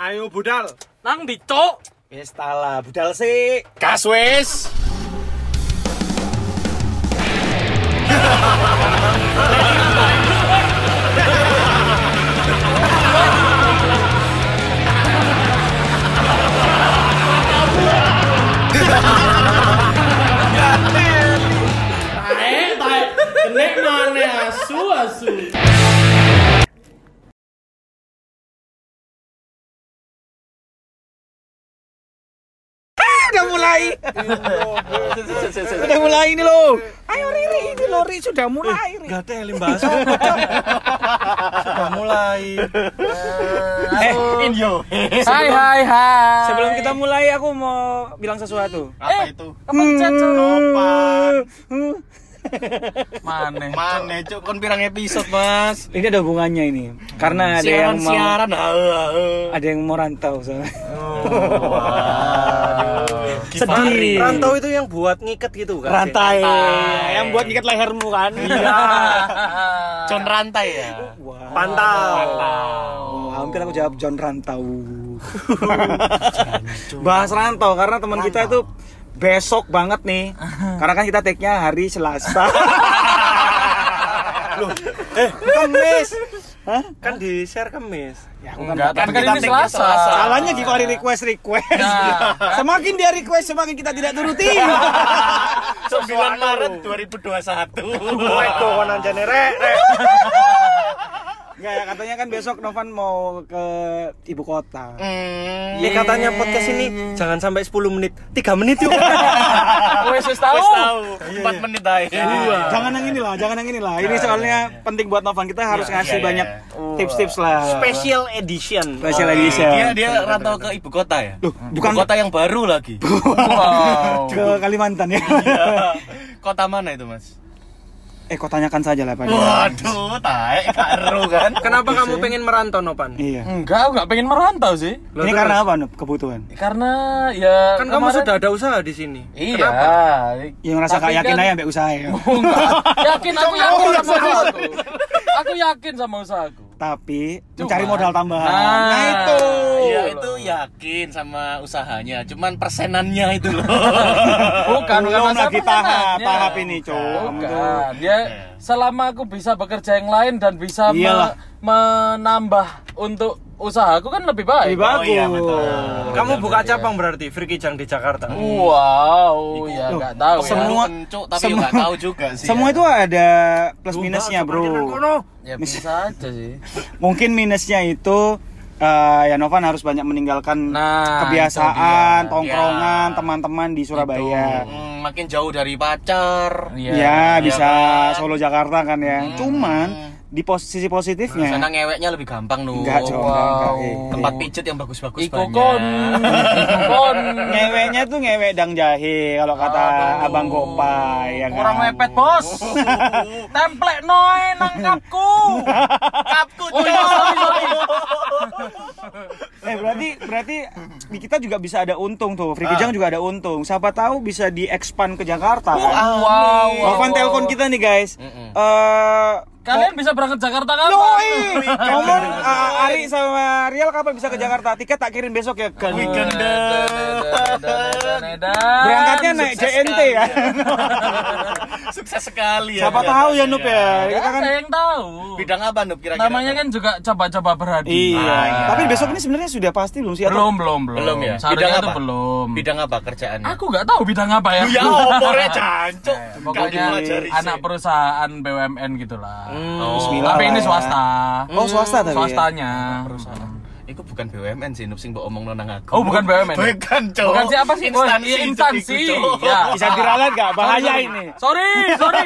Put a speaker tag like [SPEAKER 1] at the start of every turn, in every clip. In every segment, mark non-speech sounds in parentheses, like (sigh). [SPEAKER 1] Ayo budal.
[SPEAKER 2] Nang ndi, Cuk?
[SPEAKER 3] Wis tala, budal sik.
[SPEAKER 4] Gas wis.
[SPEAKER 5] Eh, tai. Kenek mana asu asu.
[SPEAKER 3] Udah mulai. Udah mulai ini loh. Ayo Riri, ini loh Riri sudah mulai. Riri.
[SPEAKER 1] Gak teli bahasa. Sudah mulai.
[SPEAKER 3] Eh,
[SPEAKER 4] Indio.
[SPEAKER 2] Hai hai hai.
[SPEAKER 3] sebelum kita mulai aku mau bilang sesuatu.
[SPEAKER 4] Apa itu?
[SPEAKER 3] Hmm.
[SPEAKER 2] kepencet, Cuk.
[SPEAKER 4] Topan.
[SPEAKER 2] Maneh.
[SPEAKER 4] Mana cuk kon pirang episode, Mas?
[SPEAKER 3] Ini ada hubungannya ini. Karena ada yang mau
[SPEAKER 4] Siaran-siaran.
[SPEAKER 3] ada yang mau rantau soalnya.
[SPEAKER 5] Sedih.
[SPEAKER 3] Rantau
[SPEAKER 5] itu yang buat ngiket gitu
[SPEAKER 3] Rantai. Yang buat ngikat lehermu kan. Iya.
[SPEAKER 4] (laughs) Con rantai ya.
[SPEAKER 5] Pantau.
[SPEAKER 3] Oh, hampir aku jawab John Rantau. Bahas rantau karena teman kita itu besok banget
[SPEAKER 2] (laughs)
[SPEAKER 3] nih. Karena kan kita take-nya hari Selasa. Loh, eh, Kamis. Hah?
[SPEAKER 5] Kan di share kemis.
[SPEAKER 3] Ya, aku kan
[SPEAKER 2] Enggak, tapi kan
[SPEAKER 4] kita
[SPEAKER 2] ini
[SPEAKER 4] take
[SPEAKER 2] Selasa.
[SPEAKER 4] Selasa.
[SPEAKER 3] Salahnya di kalau request request.
[SPEAKER 2] Nah.
[SPEAKER 3] (laughs) semakin dia request semakin kita tidak turuti.
[SPEAKER 2] (laughs)
[SPEAKER 4] 9 Maret 2021.
[SPEAKER 3] Iya.
[SPEAKER 5] Waduh, konan jane rek. rek.
[SPEAKER 3] Enggak ya katanya kan besok Novan mau ke ibu kota.
[SPEAKER 4] Hmm.
[SPEAKER 5] Ini
[SPEAKER 2] Iya,
[SPEAKER 5] katanya podcast ini jangan sampai 10 menit, 3 menit yuk.
[SPEAKER 2] Wis wis tahu.
[SPEAKER 4] Wis tahu.
[SPEAKER 3] Iya.
[SPEAKER 4] 4 menit aja.
[SPEAKER 3] Jangan yang ini lah, jangan yang ini lah. Ini soalnya penting buat Novan kita harus ngasih
[SPEAKER 4] iya,
[SPEAKER 3] banyak
[SPEAKER 4] iya.
[SPEAKER 3] tips-tips lah.
[SPEAKER 5] Special edition.
[SPEAKER 3] Special
[SPEAKER 4] Dia
[SPEAKER 3] edition.
[SPEAKER 4] Iya, dia rantau ke ibu kota ya?
[SPEAKER 3] Loh, bukan-
[SPEAKER 4] Ibu kota yang baru
[SPEAKER 3] (laughs)
[SPEAKER 4] lagi.
[SPEAKER 2] Wow.
[SPEAKER 3] Ke Kalimantan ya.
[SPEAKER 4] Iya. kota mana itu, Mas?
[SPEAKER 3] eh kok tanyakan saja lah Pak.
[SPEAKER 4] Waduh, taek karo kan.
[SPEAKER 5] Kenapa kamu pengen merantau, Nopan?
[SPEAKER 4] Hmm.
[SPEAKER 3] Iya.
[SPEAKER 2] Enggak, aku enggak pengen merantau sih.
[SPEAKER 5] Loh,
[SPEAKER 3] ini
[SPEAKER 5] terus?
[SPEAKER 3] karena apa Nup? Kebutuhan.
[SPEAKER 2] Karena ya
[SPEAKER 5] Kan kamu
[SPEAKER 2] kemarin-
[SPEAKER 5] sudah ada usaha di sini.
[SPEAKER 2] Iya.
[SPEAKER 3] Yang Ya, ngerasa
[SPEAKER 2] Tapi
[SPEAKER 3] gak yakin
[SPEAKER 2] kan-
[SPEAKER 3] aja sampai usaha ya.
[SPEAKER 4] Oh.
[SPEAKER 2] Enggak. Yakin aku yakin sama usahaku. Aku yakin sama usahaku.
[SPEAKER 3] Tapi
[SPEAKER 2] Cuma-
[SPEAKER 3] mencari modal tambahan.
[SPEAKER 2] Nah.
[SPEAKER 3] Nah, itu.
[SPEAKER 4] Iya, itu yakin sama usahanya, cuman persenannya itu loh.
[SPEAKER 3] (laughs)
[SPEAKER 2] Bukan, bukan
[SPEAKER 3] Belum
[SPEAKER 2] masalah
[SPEAKER 3] lagi tahap,
[SPEAKER 2] persenannya.
[SPEAKER 3] tahap ini, Cuk. Kamu
[SPEAKER 4] Iya,
[SPEAKER 3] tuh.
[SPEAKER 2] Bukan. Ya, selama aku bisa bekerja yang lain dan bisa me-
[SPEAKER 3] Iyalah.
[SPEAKER 2] menambah untuk usahaku kan lebih baik.
[SPEAKER 3] Lebih bagus.
[SPEAKER 4] iya, betul.
[SPEAKER 5] Kamu
[SPEAKER 3] Iya,
[SPEAKER 5] buka cabang berarti Friki Jang di Jakarta.
[SPEAKER 3] Mm,
[SPEAKER 2] Wow, ya enggak tahu ya.
[SPEAKER 4] Semua
[SPEAKER 3] semua-
[SPEAKER 4] cuk, Iya, tapi
[SPEAKER 3] semua-
[SPEAKER 4] enggak tahu juga sih.
[SPEAKER 3] Semua
[SPEAKER 4] ya.
[SPEAKER 3] itu ada plus minusnya, Bro.
[SPEAKER 2] ya bisa aja sih.
[SPEAKER 3] Mungkin minusnya itu eh, ya Novan harus banyak meninggalkan
[SPEAKER 2] Nah,
[SPEAKER 3] kebiasaan,
[SPEAKER 2] itu dia.
[SPEAKER 3] tongkrongan,
[SPEAKER 4] Ya.
[SPEAKER 3] teman-teman di Surabaya.
[SPEAKER 4] Hmm, makin jauh dari pacar.
[SPEAKER 2] Iya. Hmm.
[SPEAKER 3] Ya, bisa
[SPEAKER 4] kan?
[SPEAKER 3] Solo Jakarta kan ya. Cuman di posisi
[SPEAKER 2] Nah,
[SPEAKER 4] Sana
[SPEAKER 3] positifnya
[SPEAKER 4] ngeweknya lebih gampang nuh.
[SPEAKER 3] enggak Cok, enggak, enggak. Eh, eh.
[SPEAKER 4] Tempat pijet yang bagus-bagus
[SPEAKER 2] Iku
[SPEAKER 4] banyak.
[SPEAKER 2] kon, iku kon.
[SPEAKER 3] Ngeweknya tuh ngewek dang jahe kalau kata Abang Gopay ya kan.
[SPEAKER 2] Kurang mepet,
[SPEAKER 4] (laughs)
[SPEAKER 2] Bos. Templek noe nang kapku. kapku. Oh, iya, sorry, (laughs) sorry.
[SPEAKER 3] Eh berarti berarti di kita juga bisa ada untung tuh. Free
[SPEAKER 2] Ah.
[SPEAKER 3] Kijang juga ada untung. Siapa tahu bisa diekspan ke Jakarta. kan?
[SPEAKER 2] Wow. wow,
[SPEAKER 3] Novan
[SPEAKER 2] wow.
[SPEAKER 3] telepon kita nih guys.
[SPEAKER 4] Mm-mm.
[SPEAKER 3] Eh
[SPEAKER 2] Kalian bisa berangkat Jakarta kapan?
[SPEAKER 3] Noi, ngomong eh, Ari sama Rial kapan bisa ke Jakarta? Tiket tak kirim besok ya. Gan. (laughs)
[SPEAKER 2] Ah,
[SPEAKER 3] Berangkatnya naik JNT ya.
[SPEAKER 4] Sukses sekali ya.
[SPEAKER 3] (laughs) Siapa
[SPEAKER 4] ternyata.
[SPEAKER 3] tahu ya Nup ya. Kita kan
[SPEAKER 2] Saya yang tahu.
[SPEAKER 4] Bidang apa Nup kira-kira?
[SPEAKER 2] Namanya kan juga coba-coba berhadi.
[SPEAKER 3] Iya.
[SPEAKER 4] Ah, iya.
[SPEAKER 3] Tapi besok ini sebenarnya sudah pasti belum sih atau
[SPEAKER 2] Belum, belum, belum.
[SPEAKER 4] belum ya.
[SPEAKER 2] Seharusnya itu belum.
[SPEAKER 4] Bidang apa kerjaan?
[SPEAKER 2] Aku nggak tahu bidang apa ya.
[SPEAKER 4] Ya opornya jancuk.
[SPEAKER 2] (laughs) Pokoknya anak
[SPEAKER 4] perempuan
[SPEAKER 2] perusahaan BUMN gitulah. Oh,
[SPEAKER 3] Bismillah
[SPEAKER 2] Tapi
[SPEAKER 3] lah
[SPEAKER 2] ini
[SPEAKER 3] ya.
[SPEAKER 2] swasta.
[SPEAKER 3] Oh, swasta tapi ya?
[SPEAKER 2] Swastanya.
[SPEAKER 3] Oh.
[SPEAKER 4] Itu bukan BUMN sih, Nup sing mbok omongno nang aku.
[SPEAKER 2] Oh, bukan BUMN.
[SPEAKER 4] Bukan, Cok.
[SPEAKER 2] Bukan siapa sih? Oh,
[SPEAKER 4] Instansi.
[SPEAKER 2] iya,
[SPEAKER 4] Cok,
[SPEAKER 2] instansi.
[SPEAKER 4] iku, Cok.
[SPEAKER 2] Ya.
[SPEAKER 3] bisa
[SPEAKER 4] Ah.
[SPEAKER 3] diralat gak? Bahaya ini.
[SPEAKER 2] Sorry,
[SPEAKER 3] (laughs)
[SPEAKER 2] sorry.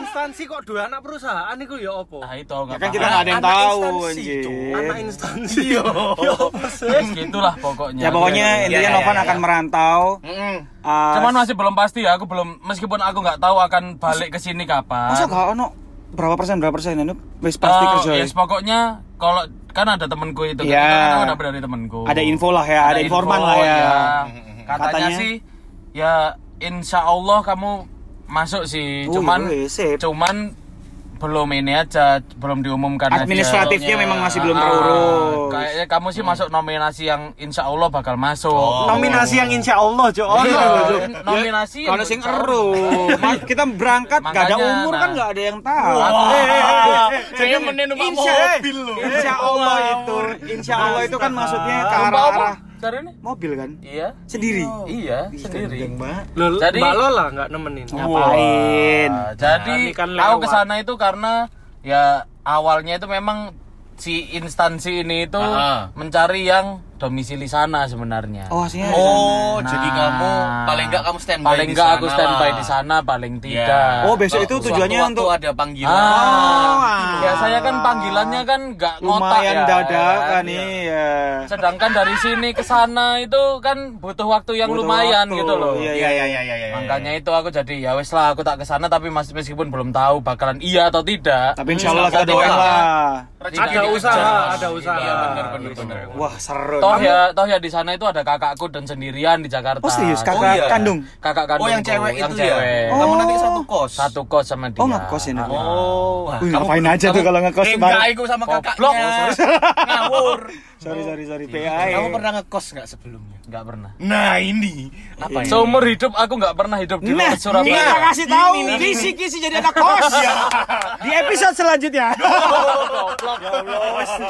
[SPEAKER 5] Instansi kok dua anak perusahaan itu ya opo?
[SPEAKER 2] Nah, itu nggak
[SPEAKER 3] Ya kan kita
[SPEAKER 2] apa-apa.
[SPEAKER 3] nggak ada yang
[SPEAKER 4] Anak
[SPEAKER 3] tahu Iya.
[SPEAKER 4] instansi,
[SPEAKER 3] anjir.
[SPEAKER 4] Cok.
[SPEAKER 5] Anak instansi yo. Yo apa sih?
[SPEAKER 2] Gitulah pokoknya.
[SPEAKER 3] Ya pokoknya
[SPEAKER 4] Iya,
[SPEAKER 3] intinya
[SPEAKER 4] iya,
[SPEAKER 3] Novan
[SPEAKER 4] iya.
[SPEAKER 3] akan merantau.
[SPEAKER 2] Mm.
[SPEAKER 4] Mm-mm.
[SPEAKER 3] Ah,
[SPEAKER 2] Cuman masih belum pasti ya, aku belum meskipun aku nggak tahu akan balik ke sini kapan.
[SPEAKER 3] Masa gak ono berapa persen berapa persen ini wis pasti
[SPEAKER 2] Oh,
[SPEAKER 3] kerja. ya?
[SPEAKER 2] yes, pokoknya kalau kan ada temanku itu kan,
[SPEAKER 3] Iya.
[SPEAKER 2] karena kan ada dari temanku.
[SPEAKER 3] Ada info lah ya, ada informan
[SPEAKER 2] info, iya.
[SPEAKER 3] lah ya.
[SPEAKER 2] Katanya,
[SPEAKER 3] Katanya-
[SPEAKER 2] sih ya insya Allah kamu masuk sih.
[SPEAKER 3] Oh,
[SPEAKER 2] cuman
[SPEAKER 3] iya, sip.
[SPEAKER 2] cuman belum ini aja belum diumumkan aja.
[SPEAKER 3] Administratifnya
[SPEAKER 4] aja.
[SPEAKER 3] memang masih belum
[SPEAKER 2] Ah,
[SPEAKER 3] terurus. Mm.
[SPEAKER 2] Kayaknya kamu sih masuk nominasi yang insya Allah bakal masuk.
[SPEAKER 3] Oh.
[SPEAKER 5] Nominasi yang insya Allah Jo. Oh,
[SPEAKER 2] Iya,
[SPEAKER 5] iya, Jo.
[SPEAKER 2] nominasi.
[SPEAKER 3] Kalau
[SPEAKER 2] yang
[SPEAKER 3] sing
[SPEAKER 2] insya Allah. (laughs)
[SPEAKER 3] eru, Mas, kita berangkat gak ada
[SPEAKER 2] Iya, Makanya,
[SPEAKER 3] umur kan
[SPEAKER 2] nah.
[SPEAKER 3] gak ada yang tahu.
[SPEAKER 4] Saya menin numpak
[SPEAKER 3] Insya,
[SPEAKER 4] mobil loh.
[SPEAKER 3] insya Allah itu, insya Allah itu kan maksudnya ke
[SPEAKER 2] Numpak
[SPEAKER 3] arah,
[SPEAKER 2] apa?
[SPEAKER 3] arah
[SPEAKER 2] Cari nih.
[SPEAKER 3] mobil kan,
[SPEAKER 2] Iya.
[SPEAKER 3] sendiri.
[SPEAKER 2] Iya,
[SPEAKER 3] Ih,
[SPEAKER 2] sendiri.
[SPEAKER 3] gendeng banget.
[SPEAKER 5] Loh,
[SPEAKER 2] Jadi- Ya,
[SPEAKER 5] Mbak Lola nggak nemenin.
[SPEAKER 3] Ngapain?
[SPEAKER 2] Wah, jadi
[SPEAKER 5] Nah, ini kan
[SPEAKER 2] aku
[SPEAKER 5] lewat.
[SPEAKER 2] ke sana itu karena ya awalnya itu memang si instansi ini itu
[SPEAKER 4] Ah.
[SPEAKER 2] mencari yang domisili sana sebenarnya.
[SPEAKER 3] Oh, aslinya di sana.
[SPEAKER 4] Oh, jadi
[SPEAKER 2] Nah,
[SPEAKER 4] kamu paling enggak kamu standby
[SPEAKER 2] paling
[SPEAKER 4] di
[SPEAKER 2] enggak
[SPEAKER 4] sana
[SPEAKER 2] aku standby
[SPEAKER 4] lah.
[SPEAKER 2] di sana paling
[SPEAKER 4] Iya.
[SPEAKER 2] tidak.
[SPEAKER 3] Oh, besok itu
[SPEAKER 4] Suatu
[SPEAKER 3] tujuannya
[SPEAKER 4] waktu
[SPEAKER 3] untuk-
[SPEAKER 4] ada panggilan.
[SPEAKER 2] Ah,
[SPEAKER 3] ah.
[SPEAKER 2] ya saya kan panggilannya kan nggak ngotak
[SPEAKER 3] Lumayan
[SPEAKER 2] ya,
[SPEAKER 3] dadakan
[SPEAKER 2] kan?
[SPEAKER 3] nih. ya.
[SPEAKER 2] Sedangkan dari sini ke sana itu kan butuh waktu yang
[SPEAKER 3] Butuh
[SPEAKER 2] lumayan
[SPEAKER 3] waktu.
[SPEAKER 2] gitu loh.
[SPEAKER 3] Iya,
[SPEAKER 4] Iya, iya, iya, iya, iya.
[SPEAKER 2] Makanya itu aku jadi ya wes lah aku tak ke sana tapi masih meskipun belum tahu bakalan iya atau tidak.
[SPEAKER 3] Tapi insya Allah kita
[SPEAKER 2] Insya Allah
[SPEAKER 3] doain
[SPEAKER 2] doakan.
[SPEAKER 3] lah.
[SPEAKER 4] Rezeki
[SPEAKER 5] Ada
[SPEAKER 4] dikejar.
[SPEAKER 5] usaha, ada usaha.
[SPEAKER 4] Iya, benar benar benar.
[SPEAKER 3] Wah seru.
[SPEAKER 2] Toh ya, toh ya di sana itu ada kakakku dan sendirian di Jakarta.
[SPEAKER 3] Oh serius kakak
[SPEAKER 4] Oh, iya.
[SPEAKER 3] kandung?
[SPEAKER 2] Kakak kandungku,
[SPEAKER 4] Oh, yang cewek
[SPEAKER 2] yang
[SPEAKER 4] itu
[SPEAKER 2] cewek.
[SPEAKER 4] ya. Kamu
[SPEAKER 3] Oh.
[SPEAKER 4] nanti satu kos.
[SPEAKER 2] Satu kos sama dia.
[SPEAKER 3] Oh ngekos ya nanti.
[SPEAKER 4] Oh, wah, kamu-
[SPEAKER 3] Wih, ngapain aja tuh kalau ngekos
[SPEAKER 4] Eh,
[SPEAKER 3] bareng.
[SPEAKER 4] enggak aku sama
[SPEAKER 2] Goblok, (laughs)
[SPEAKER 4] kakaknya.
[SPEAKER 2] lu,
[SPEAKER 4] Ngawur.
[SPEAKER 3] Sorry sorry sorry
[SPEAKER 4] Kamu
[SPEAKER 3] PAE.
[SPEAKER 4] pernah ngekos enggak sebelumnya?
[SPEAKER 2] Nggak pernah.
[SPEAKER 4] Nah, ini apa ini?
[SPEAKER 2] Seumur hidup aku nggak pernah hidup di
[SPEAKER 3] Nah,
[SPEAKER 2] luar Surabaya.
[SPEAKER 3] kita kasih tahu kisi-kisi jadi anak kos. Di episode selanjutnya. Enggak, enggak, enggak, sorry,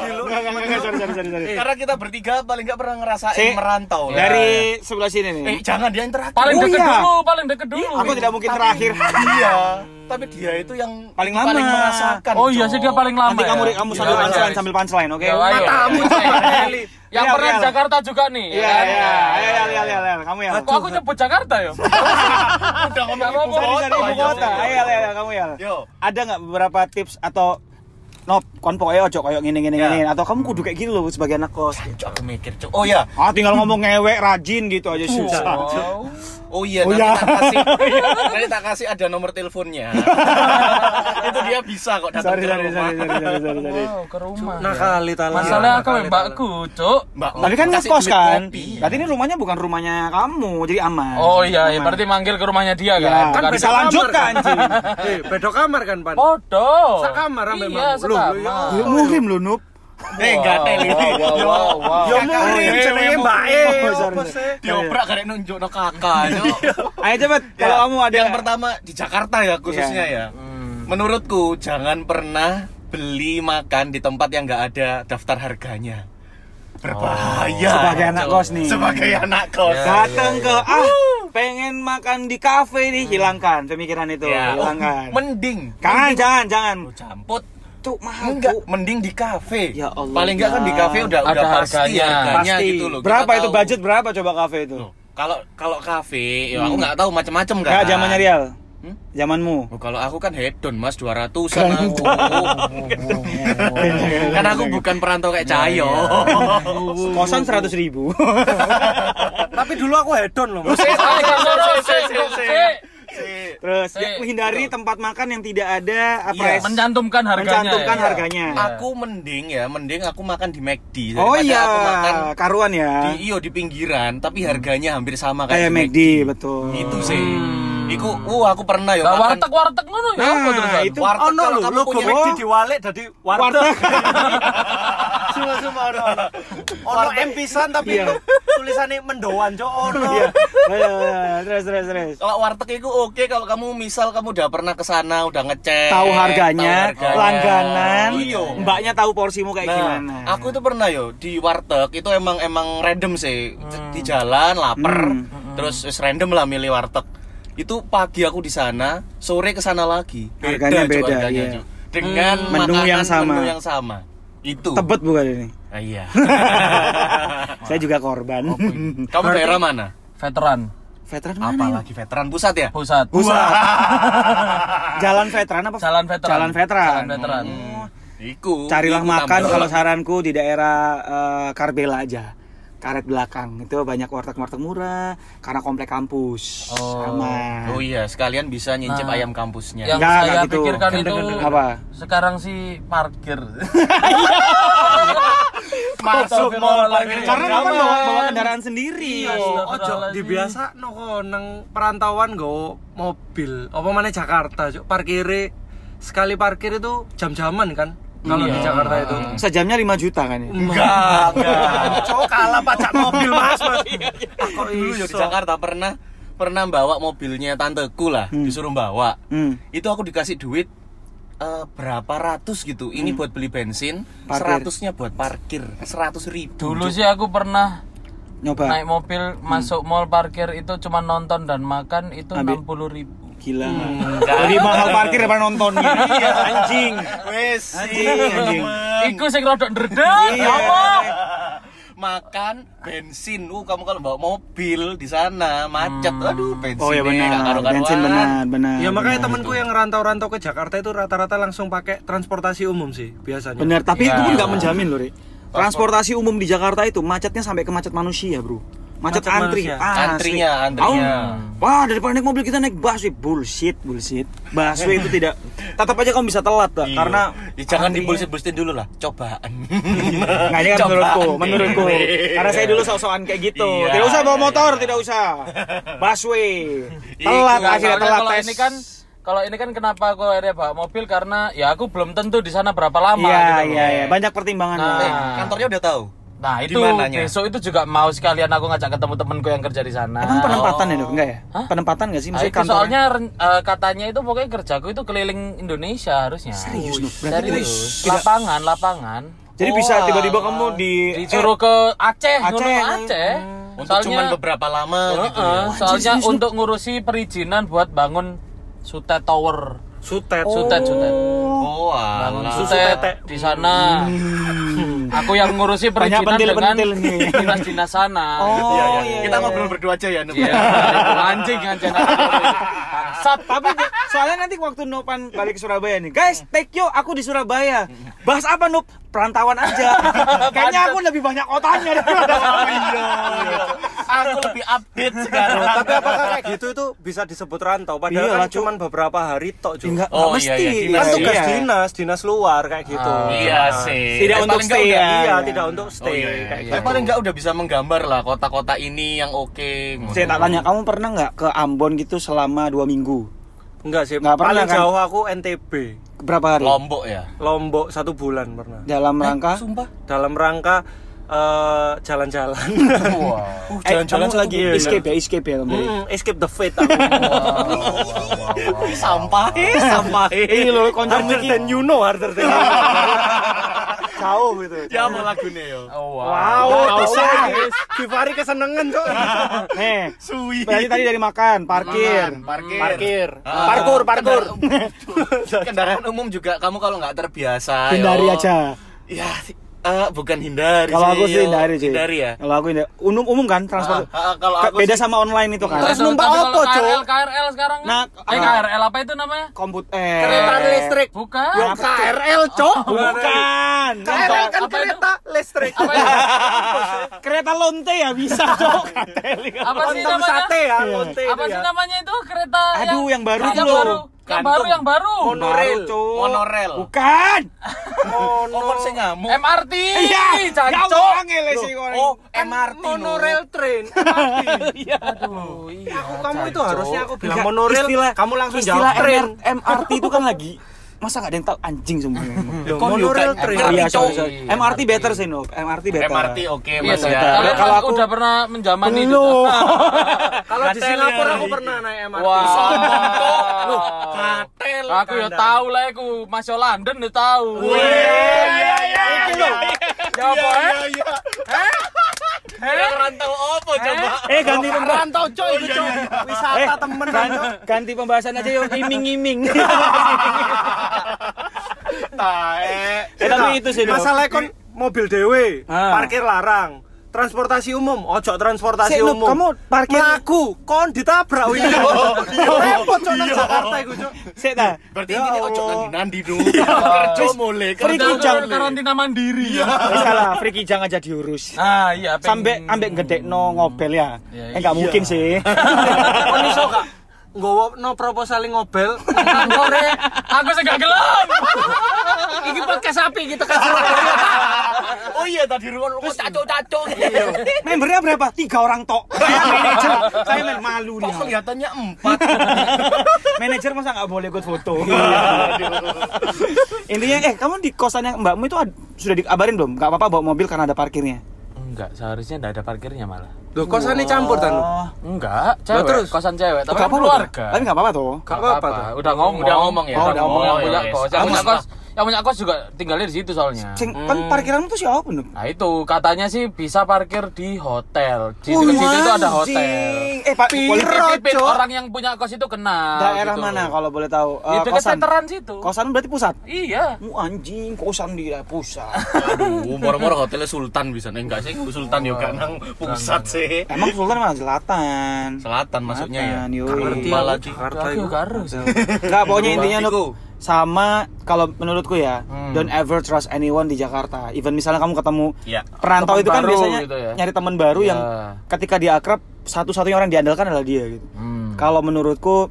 [SPEAKER 3] sorry, sorry, sorry.
[SPEAKER 4] Oh, Karena kita bertiga paling enggak pernah ngerasain
[SPEAKER 3] Si-
[SPEAKER 4] merantau. ya.
[SPEAKER 3] Dari sebelah sini nih.
[SPEAKER 4] eh jangan dia yang terakhir.
[SPEAKER 2] Paling
[SPEAKER 3] Oh,
[SPEAKER 2] deket
[SPEAKER 3] iya.
[SPEAKER 2] dulu, paling deket dulu.
[SPEAKER 3] Aku tidak mungkin terakhir. (laughs)
[SPEAKER 4] Iya, tapi dia itu yang
[SPEAKER 3] Paling
[SPEAKER 4] itu
[SPEAKER 3] lama.
[SPEAKER 4] merasakan.
[SPEAKER 2] Oh iya sih
[SPEAKER 4] Cok.
[SPEAKER 2] dia paling lama.
[SPEAKER 3] Nanti kamu
[SPEAKER 2] ya?
[SPEAKER 3] kamu
[SPEAKER 2] Iya,
[SPEAKER 3] sambil
[SPEAKER 2] iya.
[SPEAKER 3] punchline sambil punchline, oke?
[SPEAKER 2] Ya, ayo. (laughs)
[SPEAKER 5] Matamu, Cok.
[SPEAKER 2] Eli. Yang
[SPEAKER 3] Iya,
[SPEAKER 2] pernah
[SPEAKER 3] iya.
[SPEAKER 2] Jakarta juga nih.
[SPEAKER 3] Iya,
[SPEAKER 2] kan?
[SPEAKER 3] iya, iya, iya, iya, iya, iya, kamu ya.
[SPEAKER 2] Kok aku nyebut Jakarta
[SPEAKER 3] (laughs)
[SPEAKER 2] ya? Udah ngomong apa
[SPEAKER 3] Cari cari ibu kota. Ayo, ayo, ayo, kamu ya.
[SPEAKER 4] Yo.
[SPEAKER 3] Ada nggak beberapa tips atau Nop, konpo ayo cok kayak gini gini
[SPEAKER 4] Ya.
[SPEAKER 3] gini atau kamu kudu kayak gini loh sebagai anak kos.
[SPEAKER 4] Cok, aku mikir, Cok. Oh iya.
[SPEAKER 3] Ah tinggal ngomong ngewek rajin gitu aja susah.
[SPEAKER 4] Oh iya,
[SPEAKER 3] (laughs) Oh
[SPEAKER 4] nanti
[SPEAKER 3] iya.
[SPEAKER 4] tak kasih. nanti tak kasih ada nomor
[SPEAKER 3] (laughs)
[SPEAKER 4] teleponnya. itu dia bisa kok datang
[SPEAKER 3] Sorry
[SPEAKER 4] ke
[SPEAKER 3] sorry
[SPEAKER 4] rumah.
[SPEAKER 3] sorry sorry sorry sorry. sorry.
[SPEAKER 2] Wow, ke rumah.
[SPEAKER 5] Nah kali talah.
[SPEAKER 2] Masalahnya aku
[SPEAKER 5] Nah, kali
[SPEAKER 2] mbakku, Cuk.
[SPEAKER 4] Mbak,
[SPEAKER 3] Tapi kan
[SPEAKER 4] kasih
[SPEAKER 3] ngekos
[SPEAKER 4] Oh, duit
[SPEAKER 3] kan.
[SPEAKER 4] kopi.
[SPEAKER 3] Berarti ini rumahnya bukan rumahnya kamu, jadi aman.
[SPEAKER 2] Oh iya, ya,
[SPEAKER 3] Aman.
[SPEAKER 2] berarti manggil ke rumahnya dia
[SPEAKER 3] Ya,
[SPEAKER 2] kan.
[SPEAKER 3] kan
[SPEAKER 2] Bukan-
[SPEAKER 3] bisa lanjut kan, anjing. Oh,
[SPEAKER 5] talah. (laughs) Eh, bedok kamar kan, Pan?
[SPEAKER 2] Podo.
[SPEAKER 5] Sekamar ambil mampu.
[SPEAKER 2] Iya,
[SPEAKER 5] Loh, loh, ya.
[SPEAKER 2] sekamar.
[SPEAKER 3] Ya, muhrim loh, Nup.
[SPEAKER 4] Eh, enggak
[SPEAKER 2] Wow,
[SPEAKER 4] tel ini.
[SPEAKER 2] wow,
[SPEAKER 4] Yo,
[SPEAKER 2] wow, wow.
[SPEAKER 4] yo,
[SPEAKER 3] iya,
[SPEAKER 5] Ya murim
[SPEAKER 4] Oh, kakak,
[SPEAKER 5] jenenge
[SPEAKER 4] yo,
[SPEAKER 5] Mbak E.
[SPEAKER 3] Oh, sorry,
[SPEAKER 5] Apa
[SPEAKER 3] sorry.
[SPEAKER 5] sih?
[SPEAKER 4] Diobrak karek nunjukno kakak.
[SPEAKER 3] Iya.
[SPEAKER 4] Cok.
[SPEAKER 3] Ayo cepet, kalau
[SPEAKER 4] Ya,
[SPEAKER 3] kamu ada
[SPEAKER 4] yang pertama di Jakarta ya khususnya ya.
[SPEAKER 3] Hmm.
[SPEAKER 4] Menurutku jangan pernah beli makan di tempat yang nggak ada daftar harganya. Berbahaya.
[SPEAKER 3] sebagai anak kos nih. Ya.
[SPEAKER 4] Sebagai anak kos. Ya.
[SPEAKER 3] Datang ke ah pengen makan di kafe nih hilangkan pemikiran itu,
[SPEAKER 4] Ya, oh,
[SPEAKER 3] hilangkan.
[SPEAKER 4] mending
[SPEAKER 3] Jangan, jangan, jangan.
[SPEAKER 4] lu campur.
[SPEAKER 3] Tuh mahal,
[SPEAKER 4] Enggak,
[SPEAKER 3] Cuk.
[SPEAKER 4] mending di kafe.
[SPEAKER 3] Ya Allah.
[SPEAKER 4] Paling enggak kan di kafe udah
[SPEAKER 2] Ada
[SPEAKER 4] udah pasti
[SPEAKER 2] harganya.
[SPEAKER 4] harganya
[SPEAKER 3] Pasti.
[SPEAKER 4] gitu loh. Kita
[SPEAKER 3] berapa itu
[SPEAKER 4] tahu.
[SPEAKER 3] budget berapa coba kafe itu?
[SPEAKER 4] Loh, Kalau kalau kafe, ya aku nggak tahu macam-macam kan.
[SPEAKER 3] Enggak Hmm. zamannya Rial.
[SPEAKER 4] Hmm?
[SPEAKER 3] Zamanmu.
[SPEAKER 4] Oh, kalau aku kan hedon mas 200 an
[SPEAKER 3] Kan
[SPEAKER 4] aku.
[SPEAKER 3] (laughs)
[SPEAKER 4] Karena aku bukan perantau
[SPEAKER 3] Nah,
[SPEAKER 4] kayak Cahyo.
[SPEAKER 3] Kosan 100 ribu
[SPEAKER 5] Tapi dulu aku hedon loh. Mas.
[SPEAKER 2] Ayo, lurus, sik,
[SPEAKER 3] (laughs)
[SPEAKER 2] sik.
[SPEAKER 3] Iya. Terus
[SPEAKER 2] Eh,
[SPEAKER 3] ya, menghindari tempat makan yang tidak ada apa
[SPEAKER 4] Iya,
[SPEAKER 3] ya,
[SPEAKER 2] Mencantumkan harganya.
[SPEAKER 3] mencantumkan
[SPEAKER 2] ya.
[SPEAKER 3] harganya.
[SPEAKER 4] (laughs) Aku mending ya, mending aku makan di McD
[SPEAKER 3] Oh
[SPEAKER 4] daripada
[SPEAKER 3] iya,
[SPEAKER 4] aku makan
[SPEAKER 3] karuan
[SPEAKER 4] di
[SPEAKER 3] ya.
[SPEAKER 4] iyo di pinggiran tapi harganya hampir sama kayak
[SPEAKER 3] Kayak
[SPEAKER 4] di
[SPEAKER 3] McD, Hmm. betul.
[SPEAKER 4] Itu sih. Iku, uh aku pernah ya
[SPEAKER 2] Lah
[SPEAKER 4] makan
[SPEAKER 2] warteg-warteg ngono ya apa
[SPEAKER 3] Nah,
[SPEAKER 2] terusan?
[SPEAKER 3] itu
[SPEAKER 4] warteg
[SPEAKER 5] Oh no
[SPEAKER 4] kalau
[SPEAKER 5] loh,
[SPEAKER 4] kamu
[SPEAKER 5] logo
[SPEAKER 4] punya-
[SPEAKER 5] McD diwalek jadi warteg.
[SPEAKER 3] warteg.
[SPEAKER 5] (laughs) Cuma cuma ono. Ono empisan tapi
[SPEAKER 3] Iya.
[SPEAKER 5] tulisannya mendoan cok ono.
[SPEAKER 3] Iya. Ayo, ayo, Terus terus terus.
[SPEAKER 4] kalau warteg itu oke kalau kamu misal kamu udah pernah ke sana udah ngecek
[SPEAKER 3] Tahu harganya,
[SPEAKER 4] tahu Eh, harganya.
[SPEAKER 3] langganan.
[SPEAKER 4] Iya.
[SPEAKER 3] Mbaknya tahu porsimu kayak
[SPEAKER 4] nah,
[SPEAKER 3] gimana.
[SPEAKER 4] aku tuh pernah yo di warteg itu emang emang random sih
[SPEAKER 3] Hmm.
[SPEAKER 4] di jalan lapar
[SPEAKER 2] Hmm.
[SPEAKER 4] terus wis random lah milih warteg itu pagi aku di sana sore ke sana lagi
[SPEAKER 3] Harganya
[SPEAKER 4] Cuk,
[SPEAKER 3] beda,
[SPEAKER 4] harganya,
[SPEAKER 3] iya.
[SPEAKER 4] Cuk. dengan
[SPEAKER 3] Menu
[SPEAKER 4] makanan
[SPEAKER 3] yang sama.
[SPEAKER 4] menu yang sama itu
[SPEAKER 3] Tebet bukan ini?
[SPEAKER 4] Ah,
[SPEAKER 3] (laughs)
[SPEAKER 4] iya
[SPEAKER 3] Saya juga korban.
[SPEAKER 4] kamu daerah mana
[SPEAKER 2] Veteran
[SPEAKER 3] veteran
[SPEAKER 4] apa
[SPEAKER 3] mana? ya?
[SPEAKER 4] lagi veteran pusat ya
[SPEAKER 2] pusat.
[SPEAKER 3] Pusat. Jalan veteran apa?
[SPEAKER 2] Jalan veteran.
[SPEAKER 3] Jalan veteran. Hmm.
[SPEAKER 2] Jalan veteran.
[SPEAKER 4] Iku,
[SPEAKER 3] Carilah
[SPEAKER 4] iku
[SPEAKER 3] makan
[SPEAKER 4] tambah.
[SPEAKER 3] kalau saranku di daerah eh, Karbela aja. Karet belakang itu banyak warteg-warteg murah karena komplek kampus.
[SPEAKER 2] Oh.
[SPEAKER 3] Aman.
[SPEAKER 4] Oh iya, sekalian bisa nyincip
[SPEAKER 2] Nah.
[SPEAKER 4] ayam kampusnya.
[SPEAKER 2] Yang
[SPEAKER 3] Enggak,
[SPEAKER 2] saya
[SPEAKER 3] enggak gitu.
[SPEAKER 2] pikirkan itu
[SPEAKER 3] Apa?
[SPEAKER 2] sekarang si
[SPEAKER 3] (laughs)
[SPEAKER 2] parkir.
[SPEAKER 4] Masuk mall parkir
[SPEAKER 3] Karena
[SPEAKER 4] jam-jaman.
[SPEAKER 3] memang bawa, bawa kendaraan sendiri.
[SPEAKER 5] Iya, Ojo dibiasa no nang perantauan go mobil. Apa mana Jakarta cok parkire sekali parkir itu jam-jaman kan kalau di
[SPEAKER 4] Iya.
[SPEAKER 5] Jakarta itu
[SPEAKER 3] Sejamnya 5 juta kan ya?
[SPEAKER 4] Enggak, enggak. Iya,
[SPEAKER 5] cowok kalah pajak mobil mas mas ah, kok
[SPEAKER 4] dulu ya di
[SPEAKER 5] iso
[SPEAKER 4] Jakarta pernah pernah bawa mobilnya tanteku lah disuruh bawa
[SPEAKER 3] Hmm.
[SPEAKER 4] itu aku dikasih duit eh, berapa ratus gitu ini buat beli bensin
[SPEAKER 3] Hmm. Parkir.
[SPEAKER 4] seratusnya buat parkir seratus ribu
[SPEAKER 2] Dulu sih aku pernah
[SPEAKER 3] Nyoba.
[SPEAKER 2] naik mobil
[SPEAKER 3] Hmm.
[SPEAKER 2] masuk mall parkir itu cuma nonton dan makan itu enam puluh ribu.
[SPEAKER 3] Gila. Lebih mahal parkir daripada nonton. Hmm, Iya, anjing.
[SPEAKER 4] Wes,
[SPEAKER 3] Anjing, iya, anjing.
[SPEAKER 2] Iku sing rodok ndredeg,
[SPEAKER 3] Iya.
[SPEAKER 2] ya Allah.
[SPEAKER 4] makan bensin uh kamu kalau bawa mobil di sana macet aduh bensin
[SPEAKER 3] Oh ya benar, bensin benar, benar.
[SPEAKER 5] ya makanya
[SPEAKER 3] benar.
[SPEAKER 5] temanku yang rantau-rantau ke Jakarta itu rata-rata langsung pakai transportasi umum sih biasanya
[SPEAKER 3] Benar, tapi
[SPEAKER 2] Iya.
[SPEAKER 3] itu pun nggak menjamin loh, Ri. Transportasi umum di Jakarta itu macetnya sampai ke macet manusia, bro.
[SPEAKER 5] Macet
[SPEAKER 3] Macet, antri,
[SPEAKER 5] manusia.
[SPEAKER 3] asli.
[SPEAKER 4] Antrinya, antrinya.
[SPEAKER 3] Tahu? Wah, daripada naik mobil kita naik busway, bullshit, bullshit. Busway itu tidak. Tetap aja kamu bisa telat, Kak, karena
[SPEAKER 4] Iya. jangan dibulsi-bulsin dulu lah cobaan
[SPEAKER 3] Nah ini kan
[SPEAKER 4] Cobaan.
[SPEAKER 3] menurutku, menurutku. Karena saya dulu sok-sokan kayak gitu.
[SPEAKER 4] Iya,
[SPEAKER 3] tidak usah bawa
[SPEAKER 4] iya,
[SPEAKER 3] motor, tidak usah. Busway.
[SPEAKER 4] Iya,
[SPEAKER 3] Telat,
[SPEAKER 4] iya,
[SPEAKER 3] akhirnya
[SPEAKER 2] Soalnya
[SPEAKER 3] telat
[SPEAKER 2] kalau
[SPEAKER 3] tes.
[SPEAKER 2] ini kan kalau ini kan kenapa aku akhirnya bawa mobil karena ya aku belum tentu di sana berapa lama
[SPEAKER 3] Iya,
[SPEAKER 2] gitu loh.
[SPEAKER 3] iya, iya. Banyak pertimbangan
[SPEAKER 2] Nah.
[SPEAKER 4] iya.
[SPEAKER 3] lah.
[SPEAKER 4] kantornya udah tahu
[SPEAKER 2] Nah itu
[SPEAKER 4] Dimananya?
[SPEAKER 2] besok itu juga mau sekalian aku ngajak ketemu temenku yang kerja di sana.
[SPEAKER 3] Emang penempatan ya dok? Enggak ya?
[SPEAKER 2] Hah?
[SPEAKER 3] Penempatan nggak sih?
[SPEAKER 2] Nah,
[SPEAKER 3] Maksudnya
[SPEAKER 2] itu
[SPEAKER 3] kantornya?
[SPEAKER 2] soalnya ren- eh, katanya itu pokoknya kerjaku itu keliling Indonesia harusnya.
[SPEAKER 3] Serius, Nuk? Berarti
[SPEAKER 2] Serius.
[SPEAKER 3] tidak-
[SPEAKER 2] Lapangan, lapangan.
[SPEAKER 3] Jadi bisa tiba-tiba kamu di
[SPEAKER 2] Disuruh ke Aceh,
[SPEAKER 3] Eh, Aceh.
[SPEAKER 2] Aceh, Aceh.
[SPEAKER 4] Oh. untuk cuman beberapa lama gitu
[SPEAKER 2] Heeh,
[SPEAKER 4] ya.
[SPEAKER 2] soalnya untuk ngurusi perizinan buat bangun Sutet Tower.
[SPEAKER 5] sutet
[SPEAKER 2] Sutet, Sutet.
[SPEAKER 4] Oh,
[SPEAKER 2] Bangun
[SPEAKER 4] alah.
[SPEAKER 2] Sutet
[SPEAKER 5] Sutet.
[SPEAKER 2] di sana. Aku yang ngurusi
[SPEAKER 3] Banyak
[SPEAKER 2] perizinan dengan
[SPEAKER 3] pentil-pentil nih.
[SPEAKER 2] dinas-dinas sana.
[SPEAKER 4] Iya, iya.
[SPEAKER 3] iya,
[SPEAKER 4] Kita
[SPEAKER 3] iya.
[SPEAKER 4] ngobrol berdua aja ya, Nuk. (laughs)
[SPEAKER 2] Iya, anjing anjing. Bangsat.
[SPEAKER 3] Tapi di- soalnya nanti waktu Nopan balik ke Surabaya nih, guys, take you, aku di Surabaya. Bahas apa Nop? Perantauan aja. Kayaknya aku lebih banyak otaknya daripada
[SPEAKER 4] Oh, iya.
[SPEAKER 3] kamu.
[SPEAKER 4] Aku lebih update sekarang.
[SPEAKER 5] Loh, tapi apakah kayak gitu itu bisa disebut rantau padahal
[SPEAKER 3] Iyalah,
[SPEAKER 5] kan cuma beberapa hari tok juga
[SPEAKER 3] Iya, Enggak,
[SPEAKER 4] Oh, iya,
[SPEAKER 3] enggak mesti.
[SPEAKER 4] iya, dinas.
[SPEAKER 5] kan
[SPEAKER 4] Iya.
[SPEAKER 5] tugas dinas dinas luar kayak gitu
[SPEAKER 4] Iya
[SPEAKER 5] Nah,
[SPEAKER 4] sih.
[SPEAKER 3] Tidak
[SPEAKER 4] Eh,
[SPEAKER 3] untuk
[SPEAKER 4] paling nggak
[SPEAKER 3] stay
[SPEAKER 4] udah-
[SPEAKER 3] ya.
[SPEAKER 5] iya
[SPEAKER 3] Iya.
[SPEAKER 5] tidak untuk
[SPEAKER 4] Oh,
[SPEAKER 5] stay
[SPEAKER 4] iya, iya,
[SPEAKER 5] kayak
[SPEAKER 4] iya.
[SPEAKER 5] gitu
[SPEAKER 4] Tapi paling nggak udah bisa menggambar lah kota-kota ini yang oke.
[SPEAKER 3] Saya tak tanya, kamu pernah nggak ke Ambon gitu selama dua minggu?
[SPEAKER 5] enggak sih
[SPEAKER 3] Nggak pernah,
[SPEAKER 5] paling
[SPEAKER 3] kan?
[SPEAKER 5] jauh aku NTB
[SPEAKER 3] Berapa hari?
[SPEAKER 4] Lombok ya.
[SPEAKER 5] Lombok satu bulan pernah
[SPEAKER 3] Dalam rangka?
[SPEAKER 4] Sumpah.
[SPEAKER 5] dalam rangka eh, jalan-jalan
[SPEAKER 4] Uh,
[SPEAKER 3] Eh,
[SPEAKER 4] jalan-jalan
[SPEAKER 3] kamu lagi
[SPEAKER 5] iya,
[SPEAKER 3] escape ya, escape ya. kamu.
[SPEAKER 5] Hmm, escape the fate aku.
[SPEAKER 4] Ih, sampah. Ih, sampah.
[SPEAKER 3] Ini loh, koncomu
[SPEAKER 5] harder
[SPEAKER 3] iki.
[SPEAKER 5] than you know harder than you know. jauh gitu
[SPEAKER 4] Ya mau lagune yo.
[SPEAKER 2] Oh,
[SPEAKER 5] wow tahu guys Givari kesenengan cok
[SPEAKER 3] Nih,
[SPEAKER 4] Suwi.
[SPEAKER 3] berarti tadi dari makan, Nah, parkir.
[SPEAKER 4] Parkir.
[SPEAKER 5] parkir
[SPEAKER 4] Ah.
[SPEAKER 5] parkur parkur
[SPEAKER 4] Kendaraan umum (laughs) juga kamu kalau nggak terbiasa. yo.
[SPEAKER 3] Hindari aja.
[SPEAKER 4] Ya, eh, bukan hindari.
[SPEAKER 3] Kalau aku sih
[SPEAKER 4] yo.
[SPEAKER 3] hindari sih.
[SPEAKER 4] Hindari ya.
[SPEAKER 3] Kalau aku hindari. Umum umum kan transport.
[SPEAKER 4] Ah, ah, kalau
[SPEAKER 3] Ke-
[SPEAKER 4] aku
[SPEAKER 3] beda
[SPEAKER 4] sih-
[SPEAKER 3] sama online itu kan.
[SPEAKER 5] Terus numpak
[SPEAKER 2] tapi kalau
[SPEAKER 5] apa, Cuk?
[SPEAKER 2] KRL, KRL sekarang
[SPEAKER 3] Nah,
[SPEAKER 2] nah, eh,
[SPEAKER 3] ah.
[SPEAKER 2] KRL apa itu namanya?
[SPEAKER 3] komputer.
[SPEAKER 5] listrik
[SPEAKER 2] Bukan.
[SPEAKER 5] Yo, KRL cok
[SPEAKER 3] Oh, Bukan.
[SPEAKER 5] KRL kan
[SPEAKER 2] Apa itu?
[SPEAKER 5] kereta (laughs) listrik
[SPEAKER 2] Apa itu?
[SPEAKER 3] Kereta lonte ya bisa dong.
[SPEAKER 2] Apa sih
[SPEAKER 5] lontong
[SPEAKER 2] namanya?
[SPEAKER 5] sate ya lonte itu
[SPEAKER 2] Apa sih
[SPEAKER 5] ya.
[SPEAKER 2] namanya itu kereta
[SPEAKER 3] Aduh, yang baru
[SPEAKER 2] yang
[SPEAKER 3] dulu.
[SPEAKER 2] baru, yang baru, yang baru.
[SPEAKER 5] Monorel.
[SPEAKER 4] Monorel.
[SPEAKER 3] Bukan.
[SPEAKER 4] Oh, kon sing ngamuk.
[SPEAKER 2] MRT.
[SPEAKER 3] Iya. Ya
[SPEAKER 2] Jancok.
[SPEAKER 3] Allah, angel sih Eh, orang.
[SPEAKER 4] Oh, MRT. no.
[SPEAKER 5] monorel train MRT.
[SPEAKER 2] Aduh, iya.
[SPEAKER 5] aku kamu itu harusnya aku bilang
[SPEAKER 3] Enggak,
[SPEAKER 5] monorel
[SPEAKER 3] istilah-
[SPEAKER 5] kamu langsung
[SPEAKER 3] istilah
[SPEAKER 5] jawab train
[SPEAKER 3] MR- MRT itu kan lagi masa nggak ada yang tahu anjing semuanya.
[SPEAKER 5] Loh,
[SPEAKER 4] Kon
[SPEAKER 5] monorel
[SPEAKER 4] juga-
[SPEAKER 5] train
[SPEAKER 4] Tapi
[SPEAKER 3] Iya,
[SPEAKER 4] cowok-
[SPEAKER 3] sorry, sorry.
[SPEAKER 2] Iya,
[SPEAKER 3] MRT better sih, Nov. MRT better.
[SPEAKER 4] MRT oke,
[SPEAKER 2] Iya,
[SPEAKER 4] Mas
[SPEAKER 2] sih.
[SPEAKER 4] ya.
[SPEAKER 2] Kalian
[SPEAKER 3] Kalau
[SPEAKER 2] aku
[SPEAKER 3] aku-
[SPEAKER 2] udah pernah menjamani itu.
[SPEAKER 3] Belum.
[SPEAKER 5] kalau di
[SPEAKER 4] Gatel
[SPEAKER 5] Singapura
[SPEAKER 4] ya.
[SPEAKER 5] aku pernah naik MRT
[SPEAKER 2] Wah.
[SPEAKER 4] Loh, katel.
[SPEAKER 2] Aku ya tahu lah aku, Mas Yolanden ya tahu.
[SPEAKER 4] Iya, iya, iya.
[SPEAKER 2] Ya apa? eh?
[SPEAKER 4] Yang rantau opo coba?
[SPEAKER 3] Eh ganti pembahasan.
[SPEAKER 5] rantau coy itu
[SPEAKER 2] Oh,
[SPEAKER 5] coy
[SPEAKER 2] iya,
[SPEAKER 5] wisata Eh, temen
[SPEAKER 3] Kan,
[SPEAKER 5] Cok.
[SPEAKER 3] Ganti pembahasan aja yuk iming-iming.
[SPEAKER 4] Tae.
[SPEAKER 3] eh tapi itu sih. Nov.
[SPEAKER 5] masalahnya kon mobil dewe
[SPEAKER 3] Ah.
[SPEAKER 5] parkir larang transportasi umum ojo transportasi
[SPEAKER 3] Sik, Nup,
[SPEAKER 5] umum
[SPEAKER 3] kamu parkir-
[SPEAKER 5] Melaku, kon ditabrak wih repot cok nang Jakarta iku cok
[SPEAKER 3] Iya. Sik ta.
[SPEAKER 4] Berarti ini ojo nandi-nandi
[SPEAKER 3] (laughs)
[SPEAKER 4] dulu.
[SPEAKER 3] Ya
[SPEAKER 4] Kerja mulai. kan?
[SPEAKER 3] Free
[SPEAKER 4] kerja
[SPEAKER 3] kijang.
[SPEAKER 4] mulai.
[SPEAKER 2] karantina mandiri
[SPEAKER 6] Iya.
[SPEAKER 2] ya.
[SPEAKER 3] Wis salah, Free Kijang aja diurus.
[SPEAKER 2] Ah iya.
[SPEAKER 3] Sampai
[SPEAKER 2] pengen-
[SPEAKER 3] ambek gedekno ngobel ya.
[SPEAKER 2] Ya,
[SPEAKER 3] Eh enggak mungkin sih.
[SPEAKER 5] kon iso gak nggowo no proposal ngobel
[SPEAKER 2] Kore, aku sih gak gelem.
[SPEAKER 6] gitu kan.
[SPEAKER 5] iki podcast sapi kita kasih
[SPEAKER 4] oh iya tadi rumah lu
[SPEAKER 2] terus cacok-cacok gitu.
[SPEAKER 3] Membernya berapa? Tiga orang tok. Saya manajer. Saya main malu
[SPEAKER 4] kok
[SPEAKER 3] nih. ya.
[SPEAKER 4] kelihatannya (laughs) empat
[SPEAKER 3] Manajer masa nggak boleh ikut foto.
[SPEAKER 4] iya,
[SPEAKER 3] Intinya eh kamu di kosannya mbakmu itu ad- sudah dikabarin belum? Gak apa-apa bawa mobil karena ada parkirnya.
[SPEAKER 6] Enggak, seharusnya enggak ada parkirnya malah.
[SPEAKER 5] Loh, kosannya campur tanu.
[SPEAKER 6] Enggak, cewek.
[SPEAKER 5] terus?
[SPEAKER 6] Kosan cewek, tapi
[SPEAKER 3] Gak
[SPEAKER 6] kan
[SPEAKER 3] apa-apa.
[SPEAKER 6] keluarga.
[SPEAKER 3] Tapi gak apa-apa tuh.
[SPEAKER 6] Gak
[SPEAKER 5] Gak
[SPEAKER 6] apa-apa.
[SPEAKER 5] apa-apa.
[SPEAKER 6] Udah ngomong.
[SPEAKER 4] Udah ngomong ya?
[SPEAKER 6] Oh, udah
[SPEAKER 4] Oh,
[SPEAKER 6] ngomong. Yang
[SPEAKER 4] ya
[SPEAKER 6] punya
[SPEAKER 4] wes.
[SPEAKER 6] kos. Yang punya
[SPEAKER 4] Aman.
[SPEAKER 6] kos. Yang punya kos juga tinggalnya di situ soalnya.
[SPEAKER 3] Sing, kan parkiranmu tuh siapa Nup?
[SPEAKER 6] Nah itu katanya sih bisa parkir di hotel. Di situ, di situ ada hotel.
[SPEAKER 3] Anjing. Eh Pak, boleh
[SPEAKER 6] Pipit orang yang punya kos itu kenal.
[SPEAKER 3] daerah
[SPEAKER 6] gitu.
[SPEAKER 3] mana kalau boleh tahu? Eh,
[SPEAKER 6] Di dekat veteran situ.
[SPEAKER 3] Kosan berarti pusat.
[SPEAKER 6] Iya.
[SPEAKER 3] Mu anjing, kosan di daerah pusat.
[SPEAKER 6] (laughs)
[SPEAKER 4] aduh moro-moro hotelnya Sultan bisa nih enggak sih Sultan yo
[SPEAKER 3] Oh,
[SPEAKER 4] gak nang pusat sih
[SPEAKER 3] Emang Sultan mana selatan.
[SPEAKER 4] selatan maksudnya ya
[SPEAKER 3] Selatan, iya. yoi.
[SPEAKER 4] Lupa lagi
[SPEAKER 5] Jakarta
[SPEAKER 6] Aku
[SPEAKER 5] itu.
[SPEAKER 6] gak harus.
[SPEAKER 3] Enggak, pokoknya intinya
[SPEAKER 4] Iku.
[SPEAKER 3] Nup, sama kalau menurutku ya,
[SPEAKER 6] Hmm.
[SPEAKER 3] don't ever trust anyone di Jakarta. Even misalnya kamu ketemu
[SPEAKER 4] Iya.
[SPEAKER 3] perantau
[SPEAKER 6] Ya, Teman
[SPEAKER 3] itu kan
[SPEAKER 6] baru
[SPEAKER 3] biasanya
[SPEAKER 6] gitu ya.
[SPEAKER 3] nyari teman baru
[SPEAKER 6] Iya.
[SPEAKER 3] yang ketika dia akrab satu-satunya orang yang diandalkan adalah dia gitu.
[SPEAKER 6] Hmm. Ya.
[SPEAKER 3] Kalau menurutku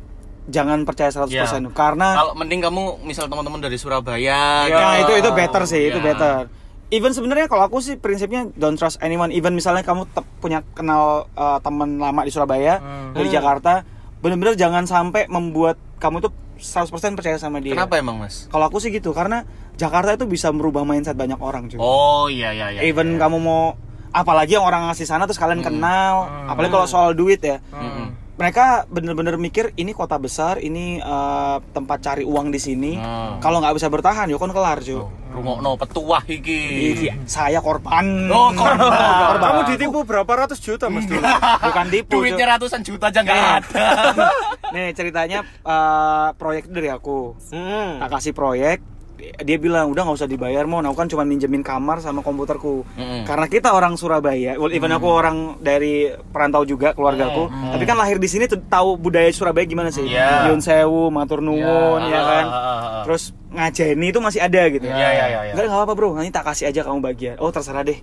[SPEAKER 3] jangan percaya 100%
[SPEAKER 4] Iya.
[SPEAKER 3] Nup, karena
[SPEAKER 4] kalau mending kamu misal teman-teman dari Surabaya
[SPEAKER 3] Ya,
[SPEAKER 4] gitu.
[SPEAKER 3] itu itu better sih, itu
[SPEAKER 4] Ya.
[SPEAKER 3] better. Even sebenarnya kalau aku sih prinsipnya don't trust anyone. Even misalnya kamu te- punya kenal uh, teman lama di Surabaya
[SPEAKER 4] Hmm.
[SPEAKER 3] dari Jakarta, bener-bener jangan sampai membuat kamu tuh 100% percaya sama dia.
[SPEAKER 4] kenapa emang mas
[SPEAKER 3] Kalau aku sih gitu, karena Jakarta itu bisa merubah mindset banyak orang cuy.
[SPEAKER 4] oh iya iya iya Hmm.
[SPEAKER 3] Even kamu mau apalagi yang orang asli sana terus kalian kenal, apalagi kalau soal duit ya.
[SPEAKER 4] Mm-mm.
[SPEAKER 3] Mereka bener-bener mikir ini kota besar, ini uh, tempat cari uang di sini.
[SPEAKER 4] Hmm. Oh.
[SPEAKER 3] Kalau nggak bisa bertahan, yo kon kelar cuy.
[SPEAKER 4] rungokno petuah iki
[SPEAKER 3] Iya, saya (laughs) korban.
[SPEAKER 4] Oh, korban.
[SPEAKER 5] Kamu ditipu berapa ratus juta mas dulu?
[SPEAKER 3] Bukan tipu. Cuk.
[SPEAKER 4] duitnya ratusan juta aja nggak ada
[SPEAKER 3] Nih ceritanya eh, proyek itu dari aku.
[SPEAKER 5] Hmm.
[SPEAKER 3] Tak Nah, kasih proyek, dia bilang udah nggak usah dibayar mau, aku kan cuma minjemin kamar sama komputerku.
[SPEAKER 4] Mm-mm.
[SPEAKER 3] Karena kita orang Surabaya, well,
[SPEAKER 4] Hmm.
[SPEAKER 3] even aku orang dari perantau juga keluarga aku, tapi kan lahir di sini tuh tahu budaya Surabaya gimana sih?
[SPEAKER 4] Iya.
[SPEAKER 3] Yun Sewu, matur nuwun,
[SPEAKER 4] Iya.
[SPEAKER 3] ya kan.
[SPEAKER 4] Ah, ah, ah.
[SPEAKER 3] Terus ngajeni itu masih ada gitu.
[SPEAKER 4] Iya, iya, iya, iya.
[SPEAKER 3] Enggak enggak apa-apa, Bro. Nanti tak kasih aja kamu bagian. Oh, terserah deh.